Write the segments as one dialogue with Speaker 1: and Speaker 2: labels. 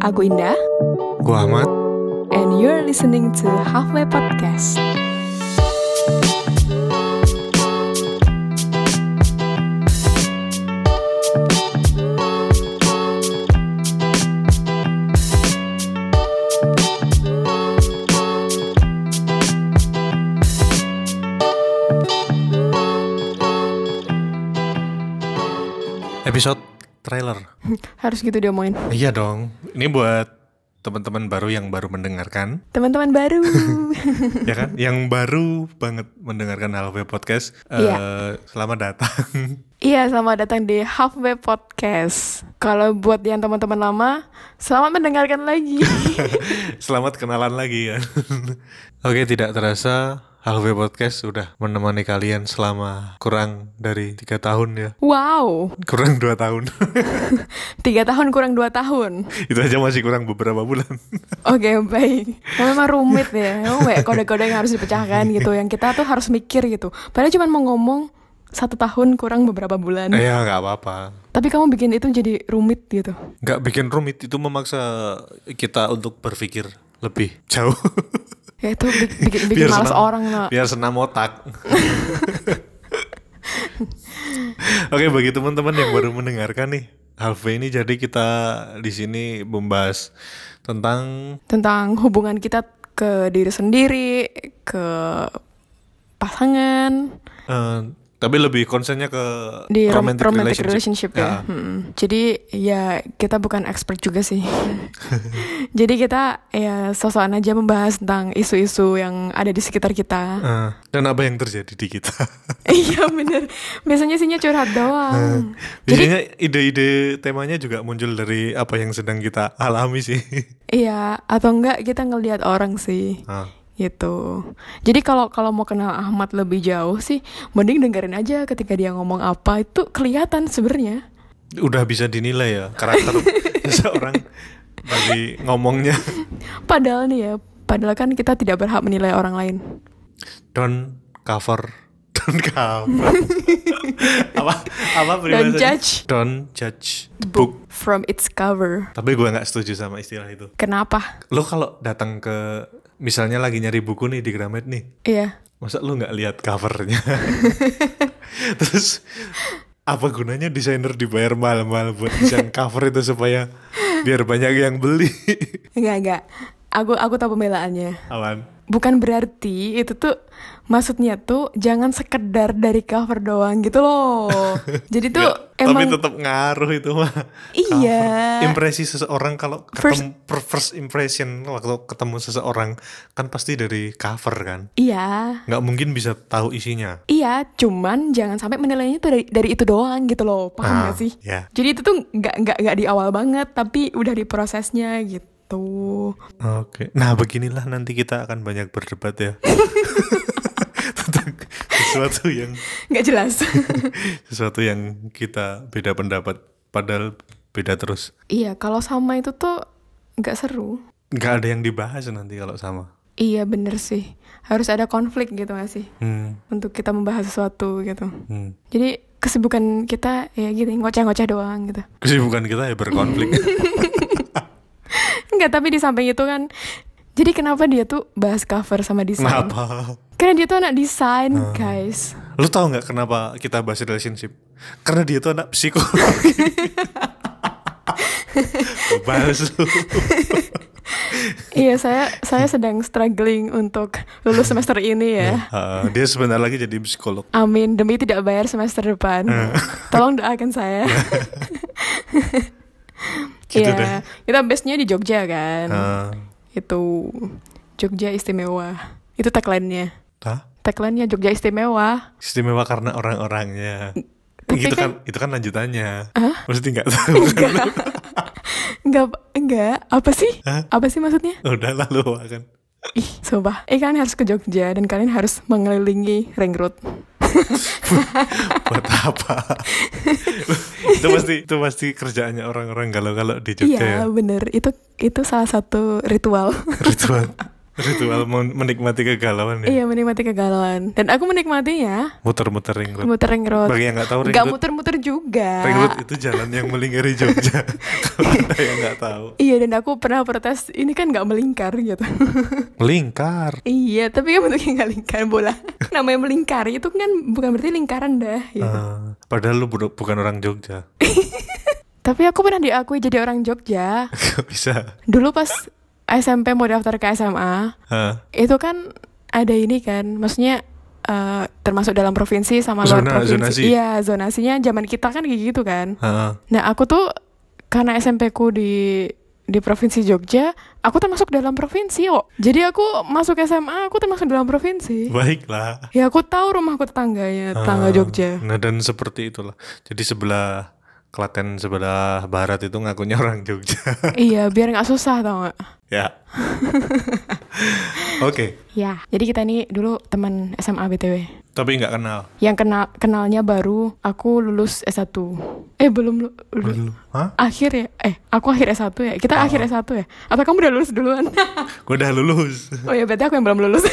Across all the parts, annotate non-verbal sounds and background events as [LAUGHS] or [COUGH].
Speaker 1: Aku Indah,
Speaker 2: Gua Ahmad.
Speaker 1: and you're listening to Halfway Podcast.
Speaker 2: Episode trailer.
Speaker 1: Harus gitu diomongin.
Speaker 2: Iya dong. Ini buat teman-teman baru yang baru mendengarkan,
Speaker 1: Teman-teman baru.
Speaker 2: ya [LAUGHS] kan? Yang baru banget mendengarkan Halfway Podcast. Eh,
Speaker 1: Iya.
Speaker 2: Selamat datang. [LAUGHS]
Speaker 1: iya, selamat datang di Halfway Podcast. Kalau buat yang teman-teman lama, selamat mendengarkan lagi.
Speaker 2: selamat kenalan lagi ya. [LAUGHS] Oke, tidak terasa Halfway Podcast sudah menemani kalian selama kurang dari tiga tahun ya.
Speaker 1: wow,
Speaker 2: Kurang dua tahun. [LAUGHS]
Speaker 1: tiga tahun kurang dua tahun.
Speaker 2: Itu aja masih kurang beberapa bulan.
Speaker 1: Oke, baik. Memang rumit ya. Memang banyak kode-kode yang harus dipecahkan gitu. Yang kita tuh harus mikir gitu. Padahal cuma mau ngomong satu tahun kurang beberapa bulan.
Speaker 2: Eh, [LAUGHS] ya nggak apa-apa.
Speaker 1: Tapi kamu bikin itu jadi rumit gitu.
Speaker 2: nggak bikin rumit itu memaksa kita untuk berpikir lebih jauh [LAUGHS]
Speaker 1: Ya itu bi- bikin, bikin
Speaker 2: Biar
Speaker 1: malas
Speaker 2: senang.
Speaker 1: orang lah.
Speaker 2: biar senam otak oke bagi teman-teman yang baru mendengarkan nih Halve ini jadi kita di sini membahas tentang
Speaker 1: Tentang hubungan kita ke diri sendiri, ke pasangan,
Speaker 2: eh, tapi lebih konsennya ke
Speaker 1: di rom-
Speaker 2: romantic,
Speaker 1: romantic
Speaker 2: relationship,
Speaker 1: relationship, ya. Mm-mm. Jadi ya kita bukan expert juga sih. Jadi kita ya sosokan aja membahas tentang isu-isu yang ada di sekitar
Speaker 2: [LAUGHS]
Speaker 1: kita.
Speaker 2: Eh, dan apa yang terjadi di kita
Speaker 1: Iya bener. Biasanya isinya curhat
Speaker 2: Nah,
Speaker 1: doang.
Speaker 2: [LAUGHS] biasanya ide-ide temanya juga muncul dari apa yang sedang kita alami sih
Speaker 1: Iya atau enggak kita ngelihat orang sih.
Speaker 2: Ah.
Speaker 1: gitu. Jadi kalau kalau mau kenal Ahmad lebih jauh sih, mending dengerin aja ketika dia ngomong apa itu kelihatan sebenarnya.
Speaker 2: udah bisa dinilai ya karakter
Speaker 1: [LAUGHS]
Speaker 2: seseorang bagi ngomongnya
Speaker 1: Padahal nih ya, padahal kan kita tidak berhak menilai orang lain.
Speaker 2: don cover don cover [LAUGHS] apa apa
Speaker 1: Don't
Speaker 2: peribahasanya?
Speaker 1: judge
Speaker 2: Don't judge
Speaker 1: the
Speaker 2: the book
Speaker 1: book from its cover.
Speaker 2: tapi gue nggak setuju sama istilah itu
Speaker 1: Kenapa?
Speaker 2: lo kalau datang ke misalnya lagi nyari buku nih di Gramet nih
Speaker 1: Iya.
Speaker 2: masa lo nggak lihat
Speaker 1: [LAUGHS]
Speaker 2: covernya terus apa gunanya desainer dibayar mahal-mahal buat
Speaker 1: [LAUGHS]
Speaker 2: desain cover itu supaya biar banyak yang beli [LAUGHS]
Speaker 1: Enggak, enggak. Aku aku tahu pembelaannya.
Speaker 2: awan
Speaker 1: Bukan berarti itu tuh maksudnya tuh jangan sekedar dari cover doang gitu loh.
Speaker 2: [LAUGHS]
Speaker 1: Jadi tuh
Speaker 2: Nggak,
Speaker 1: emang
Speaker 2: tapi tetap ngaruh itu mah
Speaker 1: Iya.
Speaker 2: Cover. impresi seseorang kalau
Speaker 1: First-
Speaker 2: ketemu per- first impression waktu ketemu seseorang kan pasti dari cover kan
Speaker 1: iya.
Speaker 2: nggak mungkin bisa tahu isinya
Speaker 1: Iya, cuman jangan sampai menilainya tuh dari, dari itu doang gitu loh, paham
Speaker 2: Ah,
Speaker 1: gak sih?
Speaker 2: ya.
Speaker 1: Jadi itu tuh nggak nggak nggak di awal banget, tapi udah di prosesnya gitu.
Speaker 2: oke nah beginilah nanti kita akan banyak
Speaker 1: [LAUGHS]
Speaker 2: berdebat ya tentang sesuatu yang
Speaker 1: Nggak
Speaker 2: [LAUGHS]
Speaker 1: jelas.
Speaker 2: sesuatu yang kita beda pendapat padahal beda terus
Speaker 1: iya, kalau sama itu tuh nggak seru.
Speaker 2: nggak ada yang dibahas nanti kalau sama
Speaker 1: Iya bener sih, harus ada konflik gitu gak sih
Speaker 2: hmm,
Speaker 1: untuk kita membahas sesuatu gitu.
Speaker 2: hmm.
Speaker 1: Jadi kesibukan kita ya gitu ngoceh-ngoceh doang gitu.
Speaker 2: kesibukan kita ya berkonflik
Speaker 1: Nggak, tapi di samping itu kan, jadi kenapa dia tuh bahas cover [LAUGHS] sama desain?
Speaker 2: kenapa Ah.
Speaker 1: Karena dia tuh anak desain, guys.
Speaker 2: Lu tahu nggak kenapa kita bahas relationship? Karena dia tuh anak
Speaker 1: [LAUGHS]
Speaker 2: psikologi. Lu bahas lu.
Speaker 1: Iya, saya saya sedang struggling untuk lulus semester ini ya.
Speaker 2: [LAUGHS] Ah, dia sebentar lagi jadi psikolog.
Speaker 1: Amin, demi tidak bayar semester depan.
Speaker 2: Iya.
Speaker 1: Tolong doakan saya. [LAUGHS]
Speaker 2: Gitu deh.
Speaker 1: Iya, kita base-nya di Jogja kan.
Speaker 2: Ah,
Speaker 1: Itu Jogja istimewa. Itu tagline-nya.
Speaker 2: Hah?
Speaker 1: Tagline-nya Jogja istimewa.
Speaker 2: Istimewa karena orang-orangnya.
Speaker 1: Tapi
Speaker 2: Gitu
Speaker 1: kan-
Speaker 2: kan, itu kan lanjutannya. Mesti nggak tahu.
Speaker 1: [LAUGHS]
Speaker 2: [LAUGHS]
Speaker 1: Enggak. enggak, enggak. Apa sih? Apa sih maksudnya?
Speaker 2: Udah lah lu kan.
Speaker 1: Ih, sumpah. Eh, kalian harus ke Jogja dan kalian harus mengelilingi ring road.
Speaker 2: Buat apa? [LAUGHS] itu pasti itu pasti kerjaannya orang-orang kalau kalau di Jogja
Speaker 1: Iya,
Speaker 2: ya.
Speaker 1: bener. Itu itu salah satu ritual.
Speaker 2: Ritual. Ritual men- menikmati kegalauan ya.
Speaker 1: [LAUGHS] Iya menikmati kegalauan Dan aku menikmatinya
Speaker 2: Muter-muter ring road.
Speaker 1: Muter ring road
Speaker 2: Bagi yang nggak tahu ring
Speaker 1: Nggak
Speaker 2: road-
Speaker 1: muter-muter juga
Speaker 2: Ring road itu jalan yang melingkari [LAUGHS] Jogja. Kalau ada yang nggak tahu.
Speaker 1: Iya dan aku pernah protes Ini kan nggak melingkar gitu [LAUGHS]
Speaker 2: Lingkar.
Speaker 1: Iya tapi kan bentuknya nggak lingkar
Speaker 2: [LAUGHS]
Speaker 1: bola Namanya melingkar itu kan bukan berarti lingkaran dah gitu.
Speaker 2: Ah, padahal lu bu- bukan orang [LAUGHS] Jogja.
Speaker 1: Tapi aku pernah diakui jadi orang Jogja
Speaker 2: Gak bisa.
Speaker 1: Dulu pas SMP mau daftar ke SMA
Speaker 2: Ah.
Speaker 1: Itu kan ada ini kan Maksudnya eh, termasuk dalam provinsi sama
Speaker 2: Zona-
Speaker 1: luar provinsi
Speaker 2: zonasi.
Speaker 1: Iya zonasinya zaman kita kan kayak gitu kan
Speaker 2: Ah.
Speaker 1: Nah, aku tuh karena SMP ku di di provinsi Jogja, aku termasuk dalam provinsi kok. Jadi aku masuk SMA, aku termasuk dalam provinsi.
Speaker 2: Baiklah.
Speaker 1: Ya aku tahu rumahku tetangganya, tetangga
Speaker 2: Ah, [LAUGHS]
Speaker 1: Jogja.
Speaker 2: Nah dan seperti itulah. Jadi sebelah Klaten sebelah barat itu ngakunya orang Jogja. [LAUGHS]
Speaker 1: iya, biar nggak susah tau gak?
Speaker 2: ya. [LAUGHS] Oke.
Speaker 1: Ya, jadi kita nih dulu teman SMA BTW.
Speaker 2: Tapi nggak kenal.
Speaker 1: Yang kenal kenalnya baru aku lulus S1. Eh, belum lu- lu-
Speaker 2: Dulu. Hah?
Speaker 1: akhir ya? Eh, aku akhir S1 ya. Kita
Speaker 2: Oh.
Speaker 1: akhir S1 ya. Atau kamu udah lulus
Speaker 2: [LAUGHS]
Speaker 1: duluan?
Speaker 2: Gue udah lulus.
Speaker 1: oh ya, berarti aku yang belum lulus.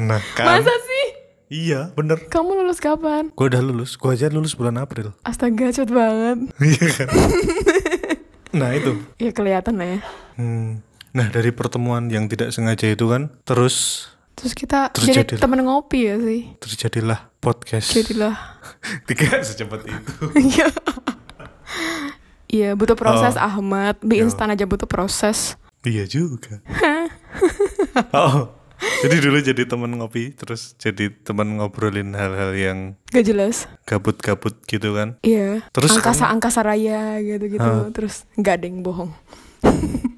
Speaker 2: Nah [LAUGHS] kan.
Speaker 1: Masa sih?
Speaker 2: Iya bener.
Speaker 1: Kamu lulus kapan?
Speaker 2: Gue udah lulus. Gue aja lulus bulan April.
Speaker 1: Astaga, cepet banget.
Speaker 2: Iya kan. [LAUGHS] nah itu.
Speaker 1: Ya kelihatan lah ya.
Speaker 2: Hmm. Nah dari pertemuan yang tidak sengaja itu kan. Terus
Speaker 1: Terus kita
Speaker 2: Terus
Speaker 1: jadi
Speaker 2: jadilah.
Speaker 1: temen ngopi ya sih.
Speaker 2: terjadilah podcast.
Speaker 1: Jadilah.
Speaker 2: [LAUGHS] Tiga secepat itu.
Speaker 1: Iya. Iya, butuh proses
Speaker 2: Oh.
Speaker 1: Ahmad. Di
Speaker 2: Yo.
Speaker 1: instan aja butuh proses.
Speaker 2: Iya juga. [LAUGHS] oh, jadi dulu jadi teman ngopi, terus jadi teman ngobrolin hal-hal yang
Speaker 1: Gak jelas.
Speaker 2: gabut-gabut gitu kan.
Speaker 1: Iya.
Speaker 2: Terus
Speaker 1: angkasa angkasa raya gitu-gitu.
Speaker 2: Ah.
Speaker 1: Terus nggak ada yang bohong.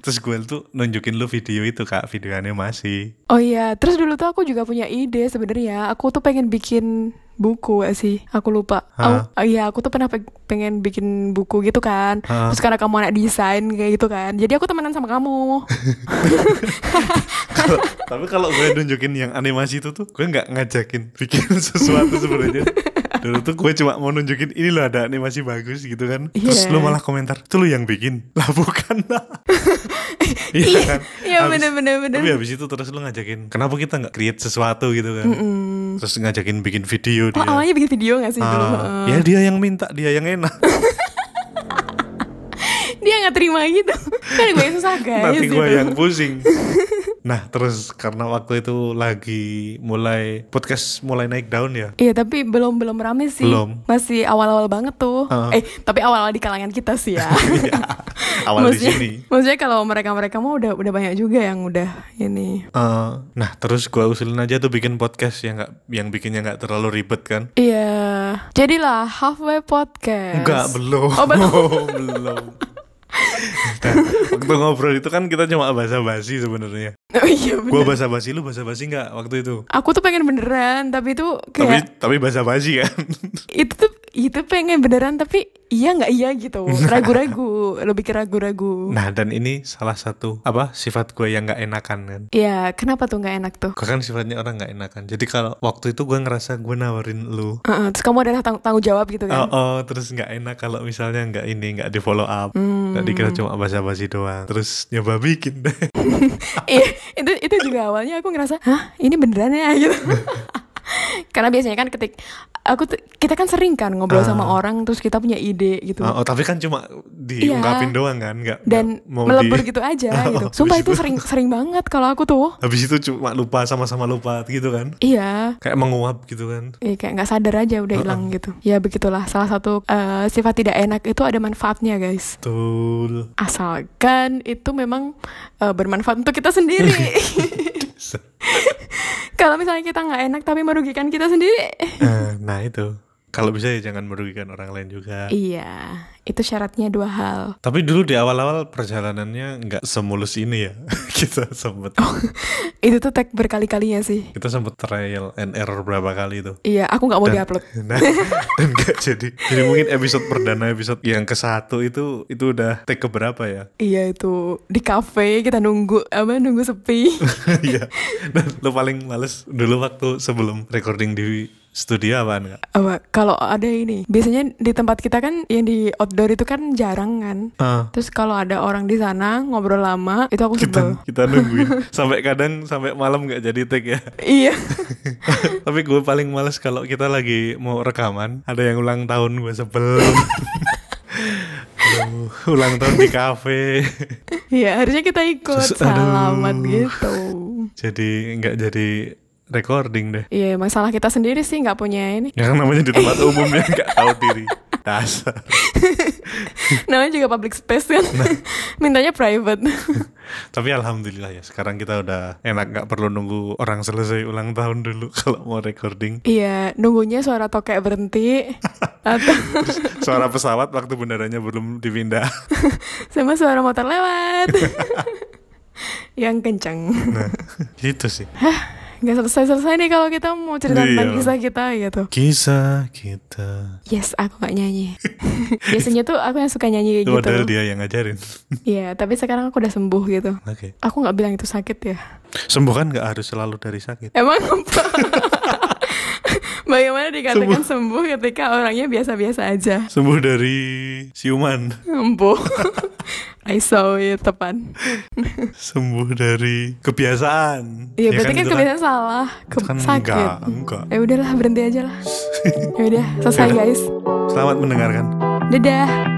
Speaker 2: Terus gue tuh nunjukin lu video itu kak, videonya masih.
Speaker 1: Oh iya, terus dulu tuh aku juga punya ide sebenarnya. Aku tuh pengen bikin buku gak sih. Aku lupa.
Speaker 2: Ah.
Speaker 1: Oh, iya, aku tuh pernah pe- pengen bikin buku gitu kan.
Speaker 2: Ah.
Speaker 1: Terus karena kamu anak desain kayak gitu kan. Jadi aku temenan sama
Speaker 2: [LAUGHS]
Speaker 1: kamu.
Speaker 2: Kalau- Tapi kalau gue nunjukin yang animasi itu tuh, gue nggak ngajakin bikin [LAUGHS] sesuatu sebenarnya. Dulu tuh gue cuma mau nunjukin ini loh ada animasi bagus gitu kan.
Speaker 1: Iya.
Speaker 2: Terus lu malah komentar, itu lu yang bikin. [LAUGHS] Lah bukan lah.
Speaker 1: [LAUGHS]
Speaker 2: iya kan?
Speaker 1: Iya,
Speaker 2: Habis-
Speaker 1: bener-bener, bener.
Speaker 2: Tapi habis itu terus lu ngajakin, kenapa kita nggak create sesuatu gitu kan. Terus ngajakin bikin video
Speaker 1: Oh,
Speaker 2: dia.
Speaker 1: awalnya bikin video gak sih dulu?
Speaker 2: Ah, ya dia yang minta, dia yang enak.
Speaker 1: Dia gak terima gitu. [LAUGHS] kan gue yang susah
Speaker 2: [LAUGHS]
Speaker 1: guys.
Speaker 2: Nanti gue
Speaker 1: gitu.
Speaker 2: yang
Speaker 1: [LAUGHS]
Speaker 2: pusing. Nah terus karena waktu itu lagi mulai podcast mulai naik daun ya.
Speaker 1: Iya tapi belum belum rame sih.
Speaker 2: Belum.
Speaker 1: Masih awal-awal banget tuh. Eh
Speaker 2: Heeh.
Speaker 1: tapi awal-awal di kalangan kita sih ya. [LAUGHS]
Speaker 2: Iya, [LAUGHS] awal di
Speaker 1: maksudnya,
Speaker 2: sini.
Speaker 1: Maksudnya kalau mereka-mereka mau udah udah banyak juga yang udah ini.
Speaker 2: Eh, nah terus gue usulin aja tuh bikin podcast yang nggak yang bikinnya nggak terlalu ribet kan?
Speaker 1: Iya. Jadilah halfway podcast.
Speaker 2: Enggak belum.
Speaker 1: Oh, belum.
Speaker 2: [LAUGHS] belum. Nah, waktu ngobrol itu kan kita cuma basa-basi sebenarnya.
Speaker 1: [LAUGHS] Oh, iya bener.
Speaker 2: Gue basa-basi lu basa-basi nggak waktu itu?
Speaker 1: Aku tuh pengen beneran tapi itu kayak
Speaker 2: Tapi tapi basa-basi kan.
Speaker 1: itu tuh itu pengen beneran tapi iya nggak iya
Speaker 2: [LAUGHS]
Speaker 1: gitu. Ragu-ragu, lebih ke ragu-ragu.
Speaker 2: nah dan ini salah satu apa sifat gue yang nggak enakan kan?
Speaker 1: Iya, kenapa tuh nggak enak tuh?
Speaker 2: Gue kan sifatnya orang nggak enakan. Jadi kalau waktu itu gue ngerasa gue nawarin lu.
Speaker 1: Heeh, terus kamu adalah tang tanggung jawab gitu
Speaker 2: Oh,
Speaker 1: kan?
Speaker 2: oh, terus nggak enak kalau misalnya nggak ini nggak di follow up,
Speaker 1: Hmm.
Speaker 2: nggak dikira cuma basa-basi doang. Terus nyoba bikin deh.
Speaker 1: Iya, itu itu juga awalnya aku ngerasa, hah ini beneran ya [LAUGHS]
Speaker 2: [LAUGHS]
Speaker 1: gitu. Karena biasanya kan ketik aku tuh- kita kan sering kan ngobrol sama orang terus kita punya ide gitu.
Speaker 2: Ah. Oh, oh, tapi kan cuma diungkapin
Speaker 1: Iya.
Speaker 2: doang kan, nggak
Speaker 1: dan
Speaker 2: nggak mau
Speaker 1: melebur
Speaker 2: di-
Speaker 1: gitu aja
Speaker 2: Oh,
Speaker 1: gitu.
Speaker 2: habis
Speaker 1: Sumpah
Speaker 2: itu-
Speaker 1: itu sering sering banget kalau aku tuh.
Speaker 2: [LAUGHS] Habis itu cuma lupa sama-sama lupa gitu kan,
Speaker 1: Iya.
Speaker 2: kayak menguap gitu kan.
Speaker 1: Iya kayak nggak sadar aja udah hilang gitu. Ya begitulah salah satu eh, sifat tidak enak itu ada manfaatnya guys.
Speaker 2: Betul.
Speaker 1: Asalkan itu memang eh, bermanfaat untuk kita sendiri. [LAUGHS] Kalau misalnya kita nggak enak tapi merugikan kita sendiri,
Speaker 2: Eh, nah itu, kalau bisa ya jangan merugikan orang lain juga.
Speaker 1: Iya, itu syaratnya dua hal.
Speaker 2: Tapi dulu di awal-awal perjalanannya nggak semulus ini ya. [LAUGHS] kita sempet
Speaker 1: Oh. Itu tuh tag berkali-kalinya sih.
Speaker 2: kita sempet trial and error berapa kali itu.
Speaker 1: Iya, aku nggak mau diupload.
Speaker 2: Nah, [LAUGHS] dan nggak jadi. Jadi mungkin episode perdana episode yang ke satu itu itu udah take keberapa ya? [LAUGHS]
Speaker 1: Iya itu di kafe kita nunggu apa nunggu sepi.
Speaker 2: Iya. Dan lu paling males dulu waktu sebelum recording di studio apaan kak?
Speaker 1: Apa, kalau ada ini biasanya di tempat kita kan yang di outdoor itu kan jarang kan
Speaker 2: Ah,
Speaker 1: terus kalau ada orang di sana ngobrol lama itu aku sebel
Speaker 2: kita kita nungguin sampai kadang sampai malam nggak jadi take ya.
Speaker 1: iya [LAUGHS]
Speaker 2: Tapi gue paling males kalau kita lagi mau rekaman ada yang ulang tahun gue sebel. Aduh, ulang tahun di kafe. [LAUGHS]
Speaker 1: iya harusnya kita ikut
Speaker 2: Terus, aduh.
Speaker 1: salaman gitu
Speaker 2: jadi nggak jadi recording deh.
Speaker 1: iya masalah kita sendiri sih nggak punya ini
Speaker 2: Yang namanya di tempat umum yang nggak tahu diri. Dasar.
Speaker 1: namanya juga public space kan
Speaker 2: Nah.
Speaker 1: [LAUGHS] mintanya private
Speaker 2: Tapi alhamdulillah ya sekarang kita udah enak nggak perlu nunggu orang selesai ulang tahun dulu kalau mau recording.
Speaker 1: iya nunggunya suara tokek
Speaker 2: [LAUGHS]
Speaker 1: berhenti atau
Speaker 2: Suara pesawat waktu bendaranya belum dipindah.
Speaker 1: sama suara motor
Speaker 2: [LAUGHS]
Speaker 1: lewat yang kencang
Speaker 2: Nah, gitu sih.
Speaker 1: nggak selesai-selesai nih kalau kita mau cerita tentang
Speaker 2: Iya.
Speaker 1: kisah kita gitu
Speaker 2: Kisah kita.
Speaker 1: yes aku nggak
Speaker 2: [LAUGHS]
Speaker 1: nyanyi biasanya tuh aku yang suka nyanyi kayak
Speaker 2: Itu padahal
Speaker 1: gitu
Speaker 2: dia yang ngajarin.
Speaker 1: Iya, tapi sekarang aku udah sembuh gitu
Speaker 2: Oke.
Speaker 1: aku nggak bilang itu sakit ya
Speaker 2: Sembuh kan nggak harus selalu dari sakit.
Speaker 1: emang apa [LAUGHS] bagaimana dikatakan sembuh. ketika orangnya biasa-biasa aja
Speaker 2: Sembuh dari siuman.
Speaker 1: empuh I saw it tepan
Speaker 2: Sembuh dari kebiasaan.
Speaker 1: Iya, berarti kan,
Speaker 2: itu
Speaker 1: kebiasaan salah, ke
Speaker 2: gitu itu Ya kan
Speaker 1: sakit.
Speaker 2: enggak, enggak.
Speaker 1: Ya udahlah, berhenti aja lah. Ya udah, selesai guys.
Speaker 2: Selamat mendengarkan.
Speaker 1: Dadah.